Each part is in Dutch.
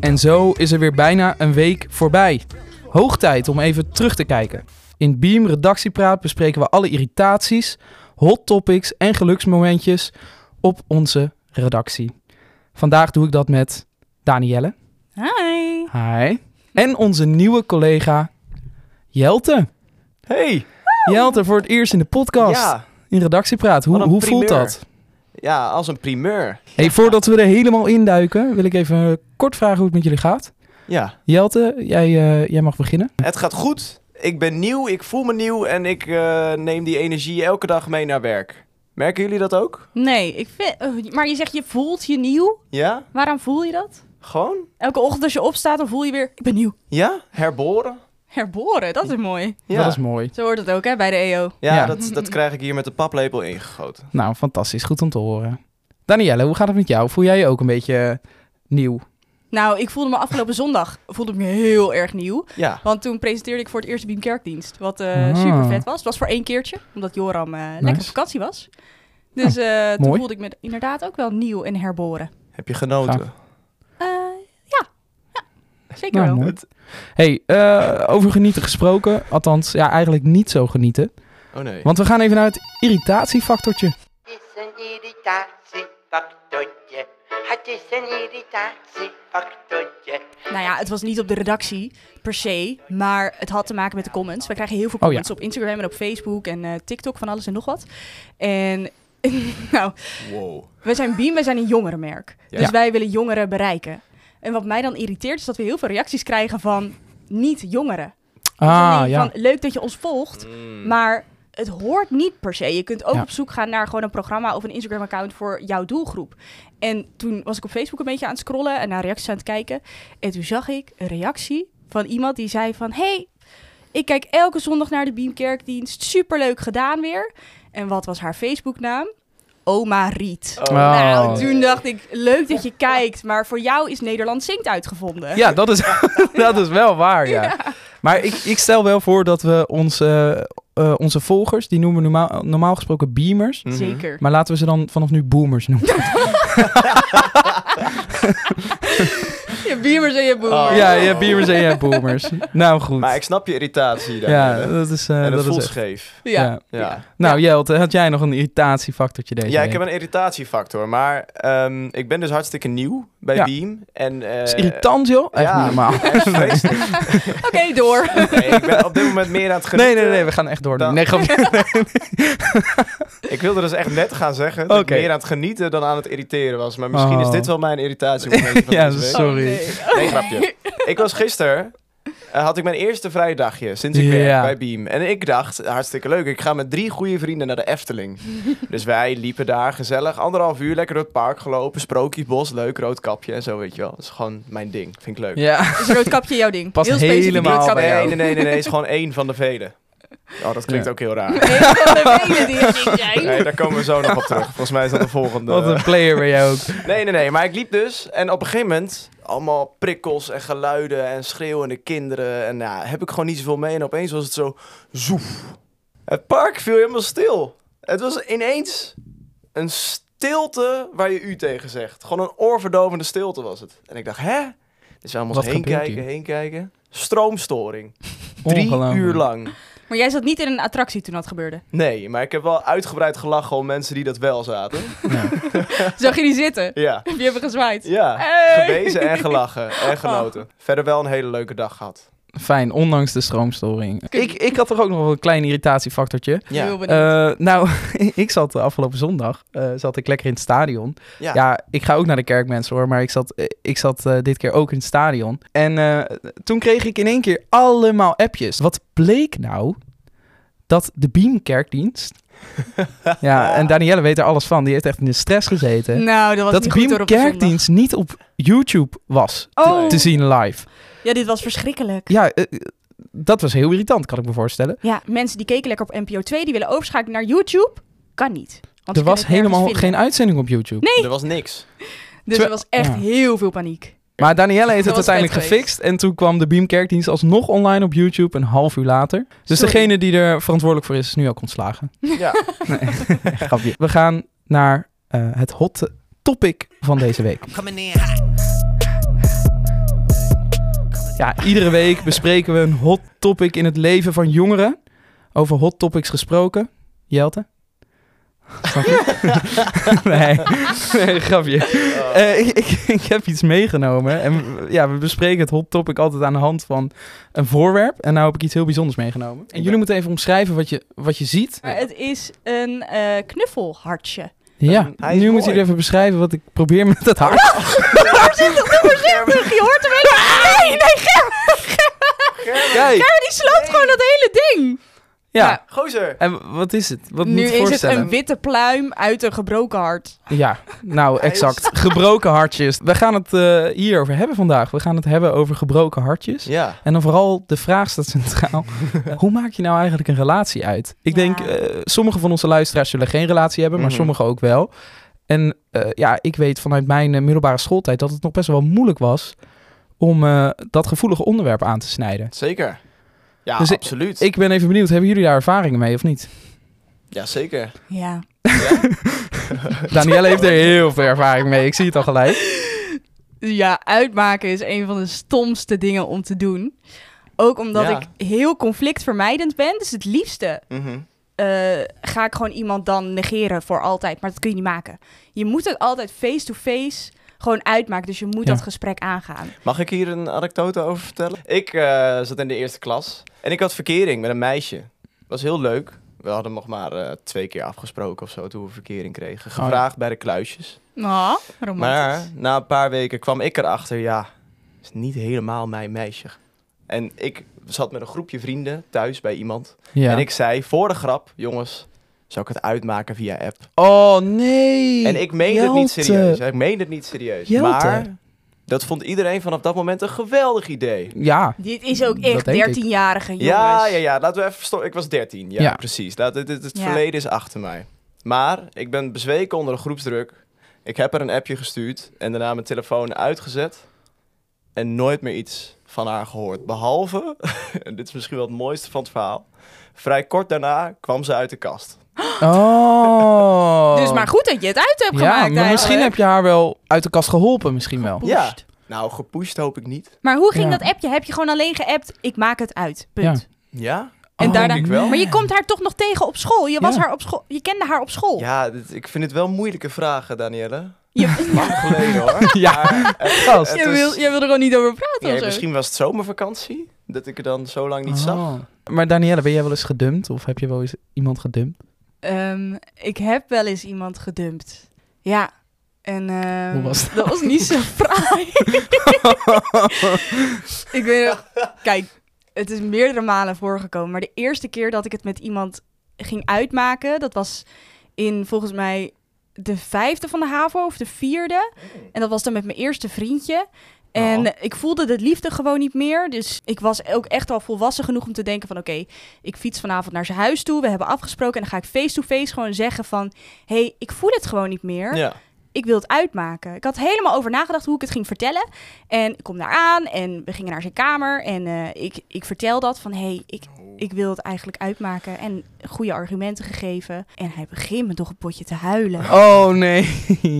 En zo is er weer bijna een week voorbij. Hoog tijd om even terug te kijken. In Beam Redactiepraat bespreken we alle irritaties, hot topics en geluksmomentjes op onze redactie. Vandaag doe ik dat met Danielle. Hi. Hi. En onze nieuwe collega Jelte. Hey! Jelte voor het eerst in de podcast. Ja, In redactiepraat. Hoe, Wat een hoe voelt primeur. dat? ja, als een primeur. Hey, voordat we er helemaal induiken, wil ik even eh, kort vragen hoe het met jullie gaat. Ja, Jelte, jij, eh, jij mag beginnen. het gaat goed. Ik ben nieuw, ik voel me nieuw en ik eh, neem die energie elke dag mee naar werk. Merken jullie dat ook? Nee, ik vind, eh, maar je zegt je voelt je nieuw. Ja? Waarom voel je dat? Gewoon? Elke ochtend als je opstaat, dan voel je weer, ik ben nieuw. Ja? Herboren? Herboren, dat is mooi. Ja, Dat is mooi. Zo hoort het ook hè, bij de E EO. ja, Ja. Dat, dat krijg ik hier met de paplepel ingegoten. Nou, fantastisch. Goed om te horen. Danielle, hoe gaat het met jou? Voel jij je ook een beetje eh, nieuw? Nou, ik voelde me afgelopen zondag voelde ik me heel erg nieuw. Ja. Want toen presenteerde ik voor het eerst de Beamkerkdienst. Wat eh, Ah. super vet was. Het was voor één keertje, omdat Joram eh, lekker op Nice. Ah, vakantie was. Dus eh, toen mooi. voelde ik me inderdaad ook wel nieuw en herboren. Heb je genoten? Eh, ja. ja, zeker wel. Nou, mooi. Hey, eh, over genieten gesproken. Althans, ja, eigenlijk niet zo genieten. Oh nee. Want we gaan even naar het irritatiefactortje. Het is een irritatiefactortje. Het is een irritatiefactortje. Nou ja, het was niet op de redactie per se, maar het had te maken met de comments. We krijgen heel veel Oh, comments op Instagram en op Facebook en eh, TikTok van alles en nog wat. En nou, Wow. we zijn Beam, wij zijn een jongerenmerk. Dus Ja. wij willen jongeren bereiken. En wat mij dan irriteert is dat we heel veel reacties krijgen van niet jongeren. Ah, Alleen ja. Van leuk dat je ons volgt, maar het hoort niet per se. Je kunt ook Ja. op zoek gaan naar gewoon een programma of een Instagram-account voor jouw doelgroep. En toen was ik op Facebook een beetje aan het scrollen en naar reacties aan het kijken. En toen zag ik een reactie van iemand die zei van... Hey, ik kijk elke zondag naar de Beamkerkdienst. Superleuk gedaan weer. En wat was haar Facebooknaam? Oma Riet. Oh. Nou, toen dacht ik, leuk dat je kijkt, maar voor jou is Nederland Zingt uitgevonden. Ja, dat is, dat is wel waar, ja. Maar ik, ik stel wel voor dat we onze, eh, onze volgers, die noemen we normaal, normaal gesproken beamers. Mhm. Zeker. Maar laten we ze dan vanaf nu boomers noemen. Je beamers en je boomers. Oh. Ja, je hebt beamers en je hebt boomers. Nou goed. Maar ik snap je irritatie daar. ja, dat is, eh, en het dat is voelt echt- scheef. Ja. Ja. Nou, Jelte, had jij nog een irritatiefactortje deze ja, week? ik heb een irritatiefactor, maar ehm, ik ben dus hartstikke nieuw bij Ja. Beam. En, eh, Het is irritant, joh. Echt ja. niet normaal. hij is vreselijk. Oké, door. Nee, ik ben op dit moment meer aan het genieten. Nee, nee, nee, we gaan echt door. eh, Dan- Nee, grapje. Ik wilde dus echt net gaan zeggen dat Oké. ik meer aan het genieten dan aan het irriteren was. Maar misschien Oh. is dit wel mijn irritatie. van Ja, deze week. zo- Sorry. Nee, grapje. Ik was gisteren, eh, had ik mijn eerste vrije dagje sinds ik Ja. werk bij Beam. En ik dacht, hartstikke leuk, ik ga met drie goede vrienden naar de Efteling. dus wij liepen daar gezellig, anderhalf uur lekker door het park gelopen. Sprookjesbos, leuk, rood kapje en zo, weet je wel. Dat is gewoon mijn ding, vind ik leuk. Ja. Is roodkapje jouw ding? Past Heel specifiek helemaal roodkapje. bij Nee, jou. nee, nee, nee, nee, is gewoon één van de vele. Oh, dat klinkt Ja. ook heel raar. Een van de velen die het ding zijn. Nee, daar komen we zo nog op terug. Volgens mij is dat de volgende. Wat een player ben jij ook. Nee, nee, nee. Maar ik liep dus. En op een gegeven moment, allemaal prikkels en geluiden en schreeuwende kinderen. En ja, heb ik gewoon niet zoveel mee. En opeens was het zo zoef. Het park viel helemaal stil. Het was ineens een stilte waar je u tegen zegt. Gewoon een oorverdovende stilte was het. En ik dacht, hè? Dus we allemaal eens Wat heen gebeurt kijken, hier? heen kijken. Stroomstoring. Drie Ongelooflijk. uur lang. Maar jij zat niet in een attractie toen dat gebeurde. Nee, maar ik heb wel uitgebreid gelachen om mensen die dat wel zaten. Zag je die zitten? Ja. Heb je even gezwaaid? Ja, Hey! gewezen en gelachen en genoten. Verder wel een hele leuke dag gehad. Fijn, ondanks de stroomstoring. Kun- Ik, ik had toch ook nog wel een klein irritatiefactortje. Heel Ja, benieuwd. Eh, nou, ik zat de afgelopen zondag eh, zat ik lekker in het stadion. ja. Ja, ik ga ook naar de kerk, mensen hoor. Maar ik zat, eh, ik zat eh, dit keer ook in het stadion. En eh, toen kreeg ik in één keer allemaal appjes. Wat bleek nou? Dat de Beamkerkdienst. ja, en Danielle weet er alles van. Die heeft echt in de stress gezeten. nou, dat was Eh, dat de niet goed door op zondag. Beamkerkdienst niet op YouTube was Oh. te zien live. Ja, dit was verschrikkelijk. Ja, eh, dat was heel irritant, kan ik me voorstellen. Ja, mensen die keken lekker op NPO 2, die willen overschakelen naar YouTube. Kan niet. Want er ze was kunnen het nergens helemaal vinden. geen uitzending op YouTube. er was niks. Dus Twe- er was echt Ja. heel veel paniek. Maar Danielle heeft het Dat was uiteindelijk vet geweest. gefixt. En toen kwam de Beamkerkdienst alsnog online op YouTube een half uur later. Dus Sorry. degene die er verantwoordelijk voor is, is nu ook ontslagen. Ja. Grapje. We gaan naar eh, het hot topic van deze week. Coming in hot. Ja, iedere week bespreken we een hot topic in het leven van jongeren. Over hot topics gesproken. Jelte? Grapje. nee, nee, grapje. Eh, ik, ik, ik heb iets meegenomen. En ja, we bespreken het hot topic altijd aan de hand van een voorwerp. En nou heb ik iets heel bijzonders meegenomen. En jullie moeten even omschrijven wat je, wat je ziet. Maar het is een eh, knuffelhartje. Ja, Hij is nu mooi. moeten jullie even beschrijven wat ik probeer met dat hart. Voorzichtig, doe voorzichtig. Je hoort hem echt. Nee, nee, Gerben. Kijk, Ah! Gerben, die sloopt gewoon dat hele ding. ja. Gozer. En wat is het? Wat moet nu ik is het voorstellen? een witte pluim uit een gebroken hart. Ja, nou Hij is- exact. Gebroken hartjes. We gaan het eh, hierover hebben vandaag. We gaan het hebben over gebroken hartjes. Ja. En dan vooral de vraag staat centraal. Hoe maak je nou eigenlijk een relatie uit? Ik Ja. denk, eh sommige van onze luisteraars zullen geen relatie hebben, maar Mhm. sommige ook wel. En eh, ja, ik weet vanuit mijn eh, middelbare schooltijd dat het nog best wel moeilijk was om eh, dat gevoelige onderwerp aan te snijden. Zeker. Ja, Dus ik- absoluut. Ik ben even benieuwd, hebben jullie daar ervaringen mee of niet? Ja, zeker. Ja. Danielle heeft er heel veel ervaring mee, ik zie het al gelijk. Ja, uitmaken is een van de stomste dingen om te doen. Ook omdat Ja. ik heel conflictvermijdend ben. Dus het liefste Mhm. eh, ga ik gewoon iemand dan negeren voor altijd. Maar dat kun je niet maken. Je moet het altijd face-to-face gewoon uitmaken. Dus je moet Ja. dat gesprek aangaan. Mag ik hier een anekdote over vertellen? Ik eh, zat in de eerste klas en ik had verkering met een meisje. Was heel leuk. We hadden nog maar eh, twee keer afgesproken of zo toen we verkering kregen. Oh ja. Gevraagd bij de kluisjes. Oh, Maar romantisch. na een paar weken kwam ik erachter, ja, is niet helemaal mijn meisje. En ik zat met een groepje vrienden thuis bij iemand. Ja. En ik zei voor de grap, jongens, zou ik het uitmaken via app? Oh nee. En ik meen het Jelte. niet serieus. hè. Ik meen het niet serieus. Jelte. Maar dat vond iedereen vanaf dat moment een geweldig idee. Ja, Dit is ook Dat echt denk ik. 13-jarige jongens. Ja, ja, ja. Laten we even versto- Ik was 13. Ja, Ja. precies. Laat, dit, dit- het Ja. verleden is achter mij. Maar ik ben bezweken onder de groepsdruk. Ik heb er een appje gestuurd en daarna mijn telefoon uitgezet. En nooit meer iets van haar gehoord. Behalve, en dit is misschien wel het mooiste van het verhaal. Vrij kort daarna kwam ze uit de kast. Oh. Dus maar goed dat je het uit ja, hebt gemaakt. maar misschien eigenlijk. heb je haar wel uit de kast geholpen, misschien wel. Ja. Pushed. Nou, gepusht hoop ik niet. Maar hoe ging Ja. dat appje? Heb je gewoon alleen geappt? Ik maak het uit. Punt. Ja? En Oh, daarna. denk ik wel. Maar je komt haar toch nog tegen op school. Je, was Ja. haar op school. je kende haar op school. Ja, dit- ik vind het wel moeilijke vragen, Danielle. Je, Lang geleden hoor. Ja, Maar eh, het- gast. het is- dus je wil er gewoon niet over praten Nee, misschien was het zomervakantie. Dat ik er dan zo lang niet zag. Oh. Maar Danielle, ben jij wel eens gedumpt? Of heb je wel eens iemand gedumpt? Ehm, ik heb wel eens iemand gedumpt. Ja. En ehm, Hoe was dat? dat was niet zo fraai. ik weet nog, kijk, het is meerdere malen voorgekomen. Maar de eerste keer dat ik het met iemand ging uitmaken, dat was in volgens mij de vijfde van de HAVO of de vierde. Oh. En dat was dan met mijn eerste vriendje. En Nou. Oh. ik voelde de liefde gewoon niet meer. Dus ik was ook echt al volwassen genoeg om te denken van... oké, ik fiets vanavond naar zijn huis toe. We hebben afgesproken. En dan ga ik face-to-face gewoon zeggen van... hé, hey, ik voel het gewoon niet meer Ja. ik wil het uitmaken. Ik had helemaal over nagedacht hoe ik het ging vertellen. En ik kom daar aan en we gingen naar zijn kamer. En eh, ik, ik vertel dat van, hé, hey, ik, ik wil het eigenlijk uitmaken. En goede argumenten gegeven. En hij begint me toch een potje te huilen. Oh nee.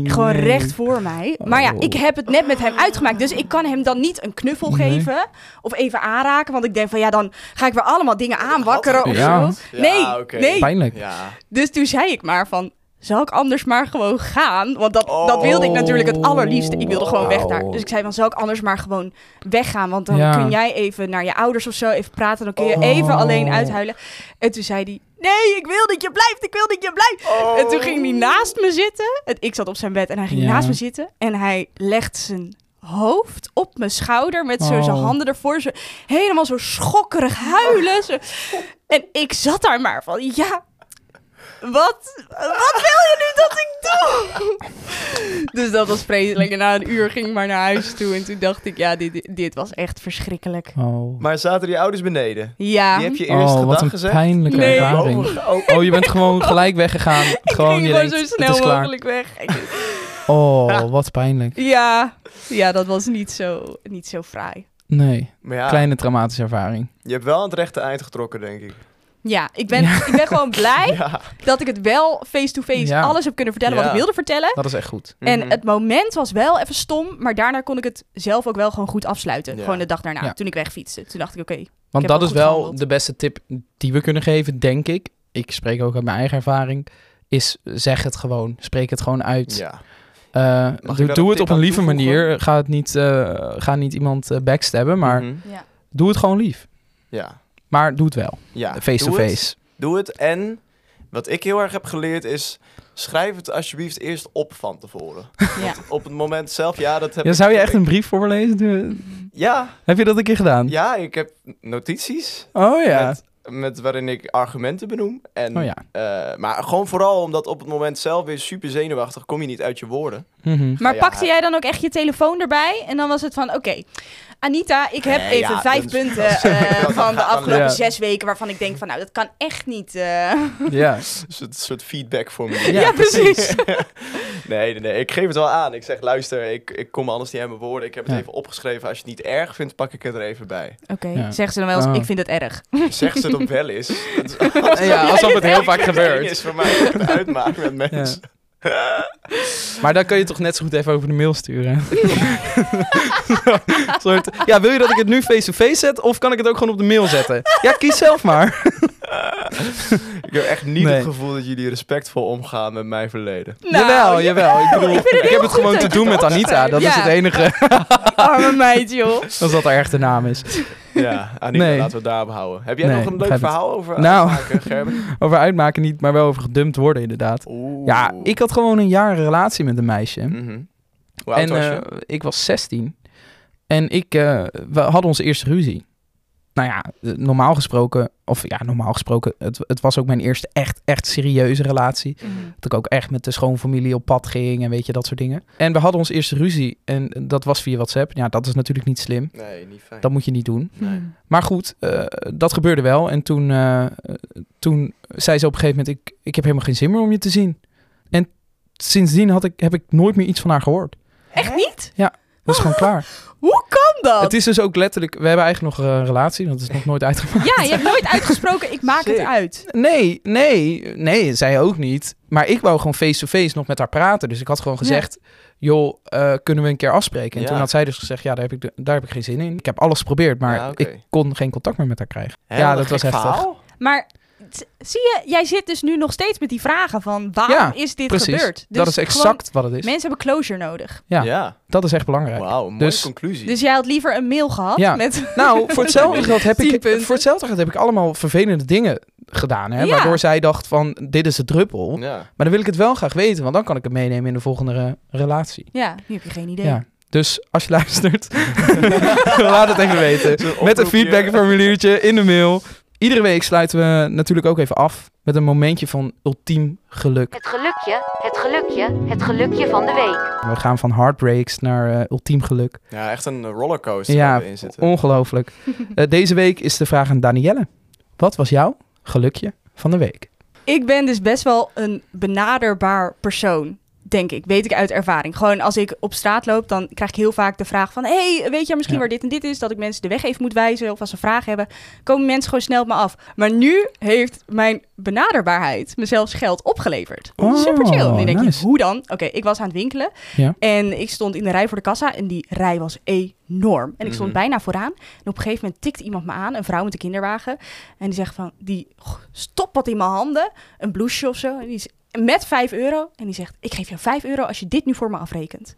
Gewoon Nee. recht voor mij. Maar ja, Oh. ik heb het net met hem uitgemaakt. Dus ik kan hem dan niet een knuffel Nee. geven. Of even aanraken. Want ik denk van, ja, dan ga ik weer allemaal dingen aanwakkeren of Ja. zo. Nee, Ja, oké. nee. Pijnlijk. Ja. Dus toen zei ik maar van, zal ik anders maar gewoon gaan? Want dat, dat wilde ik natuurlijk het allerliefste. Ik wilde gewoon weg daar. Dus ik zei van, zal ik anders maar gewoon weggaan? Want dan Ja. kun jij even naar je ouders of zo even praten. Dan kun je even Oh. alleen uithuilen. En toen zei hij, nee, ik wil dat je blijft. Ik wil dat je blijft. En toen ging hij naast me zitten. En ik zat op zijn bed en hij ging Ja. naast me zitten. En hij legt zijn hoofd op mijn schouder met zo zijn Oh. handen ervoor. Zo, helemaal zo schokkerig huilen. Zo. En ik zat daar maar van, ja, wat, wat wil je nu dat ik doe? Dus dat was vreselijk. En na een uur ging ik maar naar huis toe. En toen dacht ik, ja, dit, dit was echt verschrikkelijk. Oh, Maar zaten die ouders beneden? Ja, Die heb je eerst oh gedag wat een gezegd? pijnlijke Nee. ervaring. Oh, je bent gewoon gelijk weggegaan. gewoon ging je gewoon denkt, zo het is snel klaar. mogelijk weg. Ik- Oh, wat pijnlijk. Ja, ja dat was niet zo, niet zo fraai. Nee, Maar ja, Ah. kleine traumatische ervaring. je hebt wel aan het rechte eind getrokken, denk ik. Ja, ik ben, Ik ben gewoon blij dat ik het wel face-to-face Ja. alles heb kunnen vertellen wat Ja. ik wilde vertellen. Dat is echt goed. Mhm. En het moment was wel even stom, maar daarna kon ik het zelf ook wel gewoon goed afsluiten. Ja. Gewoon de dag daarna, Ja. toen ik wegfietste. Toen dacht ik, oké, Want heb dat ook is goed wel gehandeld. de beste tip die we kunnen geven, denk ik. Ik spreek ook uit mijn eigen ervaring. Is zeg het gewoon. Spreek het gewoon uit. Ja. Eh, Mag ik doe daar doe een het tip op een aan lieve toevoegen? manier. Ga, het niet, eh, ga niet iemand eh, backstabben, maar Mhm. ja. doe het gewoon lief. Ja. Maar doe het wel. Ja. Doe het. Face-to-face. Doe het. En wat ik heel erg heb geleerd is... Schrijf het alsjeblieft eerst op van tevoren. ja. Op het moment zelf, ja, dat heb Ja, ik... zou je echt een brief voorlezen? Doe- Ja, Heb je dat een keer gedaan? ja, ik heb notities Oh ja. met, met waarin ik argumenten benoem. En, Oh ja. eh, maar gewoon vooral omdat op het moment zelf weer super zenuwachtig... kom je niet uit je woorden. Mhm. Maar Ja, pakte ja. jij dan ook echt je telefoon erbij? En dan was het van, oké, Anita, ik heb Nee, even ja, vijf dat is- punten dat is- eh, van dat de gaat dan- afgelopen Ja. zes weken... waarvan ik denk van, nou, dat kan echt niet. eh. Ja. Dus het is een soort feedback voor me. Ja, Ja, precies. Nee, nee, nee, ik geef het wel aan. Ik zeg, luister, ik, ik kom anders niet aan mijn woorden. Ik heb het Ja. even opgeschreven. Als je het niet erg vindt, pak ik het er even bij. Oké, Ja. zeggen ze dan wel eens, Oh. ik vind het erg. Zeg ze het ook wel eens. Het is- ja, alsof het heel vaak Het gebeurt. is voor mij echt uitmaakt met mensen. Maar dan kun je toch net zo goed even over de mail sturen. Een soort, ja, wil je dat ik het nu face-to-face zet of kan ik het ook gewoon op de mail zetten? Ja, kies zelf maar. Ik heb echt niet Nee. het gevoel dat jullie respectvol omgaan met mijn verleden. jawel, jawel. Ik, bedoel, Nou, ik vind het heb heel het goed gewoon dat te je doen het met Anita. Dat is opschrijft. het enige. Arme meid, joh. Als dat haar echte naam is. Ja, Anita, Nee. laten we het daarop houden. Heb jij Nee, nog een leuk begrijp het. verhaal over Nou. afmaken, Gerben? Over uitmaken niet, maar wel over gedumpt worden inderdaad. Oeh. Ja, ik had gewoon een jaar een relatie met een meisje. Mhm. Hoe oud en was je? eh, ik was 16. En ik, eh, we hadden onze eerste ruzie. Nou ja, eh, normaal gesproken, of ja, normaal gesproken, het, het was ook mijn eerste echt, echt serieuze relatie. Dat ik ook echt met de schoonfamilie op pad ging en weet je, dat soort dingen. En we hadden onze eerste ruzie en dat was via WhatsApp. Ja, dat is natuurlijk niet slim. Nee, niet fijn. Dat moet je niet doen. Nee. Maar goed, eh, dat gebeurde wel. En toen, eh, eh, toen zei ze op een gegeven moment, ik, ik heb helemaal geen zin meer om je te zien. En sindsdien had ik, heb ik nooit meer iets van haar gehoord. Echt niet? Dat is gewoon klaar. Hoe kan dat? Het is dus ook letterlijk, we hebben eigenlijk nog eh, een relatie, want het is nog nooit uitgemaakt. Ja, je hebt nooit uitgesproken, ik maak het Sick. uit. Nee, nee, nee, zij ook niet. Maar ik wou gewoon face-to-face nog met haar praten. Dus ik had gewoon Ja. gezegd, joh, eh, kunnen we een keer afspreken? En Ja. toen had zij dus gezegd, ja, daar heb, ik de- daar heb ik geen zin in. Ik heb alles geprobeerd, maar Ja, oké. ik kon geen contact meer met haar krijgen. Hè, ja, wat dat een was gek heftig. verhaal. Maar t- zie je, jij zit dus nu nog steeds met die vragen van waarom Ja, is dit Precies, gebeurd? Dus dat is gewoon, exact wat het is. Mensen hebben closure nodig. Ja. Ja, Dat is echt belangrijk. wauw, mooie Dus- conclusie. Dus jij had liever een mail gehad Ja. met... Nou, voor hetzelfde geld heb Tien ik, punten. voor hetzelfde geld heb ik allemaal vervelende dingen gedaan. Hè? Ja. Waardoor zij dacht van, dit is de druppel. ja. Maar dan wil ik het wel graag weten, want dan kan ik het meenemen in de volgende eh, relatie. Ja, nu heb je geen idee. Ja. Dus als je luistert, laat het even weten. Met een feedbackformuliertje in de mail. Iedere week sluiten we natuurlijk ook even af met een momentje van ultiem geluk. Het gelukje, het gelukje, het gelukje van de week. We gaan van heartbreaks naar eh, ultiem geluk. Ja, echt een eh, rollercoaster waar Ja, we in zitten. ongelooflijk. Eh, deze week is de vraag aan Danielle. Wat was jouw gelukje van de week? Ik ben dus best wel een benaderbaar persoon, denk ik. Weet ik uit ervaring. Gewoon als ik op straat loop, dan krijg ik heel vaak de vraag van... hey, weet jij misschien Ja. waar dit en dit is? Dat ik mensen de weg even moet wijzen of als ze vragen hebben... komen mensen gewoon snel op me af. Maar nu heeft mijn benaderbaarheid mezelf geld opgeleverd. Oh, Super chill. Nu denk nice. je, hoe dan? Oké, ik was aan het winkelen Ja. en ik stond in de rij voor de kassa... en die rij was enorm. En ik stond Mhm. bijna vooraan. En op een gegeven moment tikt iemand me aan, een vrouw met een kinderwagen... en die zegt van, die goh, stopt wat in mijn handen een blouseje of zo. En die is met 5 euro. En die zegt, ik geef jou 5 euro als je dit nu voor me afrekent.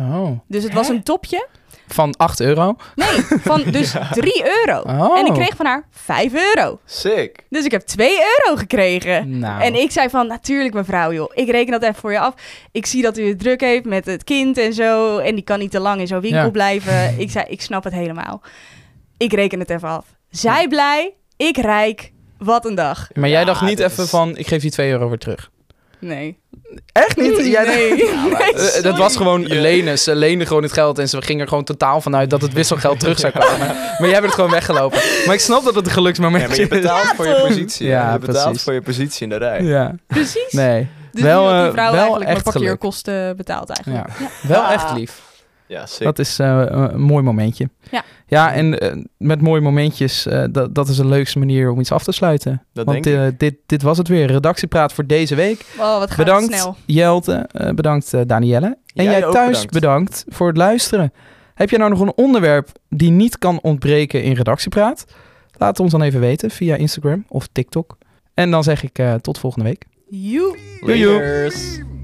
Oh. Dus het was een topje. Van 8 euro. Nee, van dus 3 euro. Oh. En ik kreeg van haar 5 euro. Sick. Dus ik heb 2 euro gekregen. Nou. En ik zei van, natuurlijk mevrouw joh, ik reken dat even voor je af. Ik zie dat u het druk heeft met het kind en zo. En die kan niet te lang in zo'n winkel Ja. blijven. Ik zei, ik snap het helemaal. Ik reken het even af. Zij blij, ik rijk. Wat een dag. Maar jij Ja, dacht niet dit even is- van, ik geef die 2 euro weer terug. Nee. Echt niet? Jij Nee. Nee, Eh, dat sorry. was gewoon Je- lenen. Ze leenden gewoon het geld en ze gingen er gewoon totaal vanuit dat het wisselgeld terug zou komen. Maar jij bent het gewoon weggelopen. Maar ik snap dat het een Ja, maar je geluksmomentje is. betaalt voor je toch? positie. Ja, Ja, je betaalt precies. voor je positie in de rij. Ja, Precies. nee. Dus Wel, nu had eh, die vrouw wel eigenlijk mijn echt geluk. parkeerkosten betaald eigenlijk. Ja. Wel echt lief. Ja, sick. Dat is eh, een mooi momentje. Ja. ja en eh, met mooie momentjes, eh, dat, dat is de leukste manier om iets af te sluiten. Dat Want denk eh, dit, dit was het weer. Redactiepraat voor deze week. Oh, wat gaat het bedankt snel. Jelte, eh, bedankt eh, Danielle. En Jij jij, ook thuis bedankt. bedankt. voor het luisteren. Heb je nou nog een onderwerp die niet kan ontbreken in redactiepraat? Laat het ons dan even weten via Instagram of TikTok. En dan zeg ik eh, tot volgende week. Joe. Joe, joe. Laters.